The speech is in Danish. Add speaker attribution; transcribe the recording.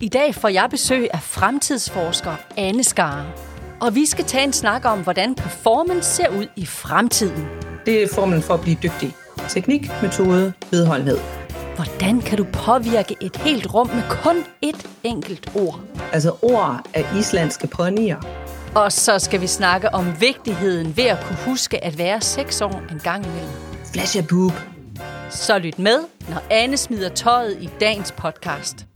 Speaker 1: I dag får jeg besøg af fremtidsforsker Anne Skare. Og vi skal tage en snak om, hvordan performance ser ud i fremtiden.
Speaker 2: Det er formlen for at blive dygtig. Teknik, metode, vedholdenhed.
Speaker 1: Hvordan kan du påvirke et helt rum med kun ét enkelt ord?
Speaker 2: Altså ord af islandske ponnier.
Speaker 1: Og så skal vi snakke om vigtigheden ved at kunne huske at være seks år en gang imellem.
Speaker 2: Flash a boob.
Speaker 1: Så lyt med, når Anne smider tøjet i dagens podcast.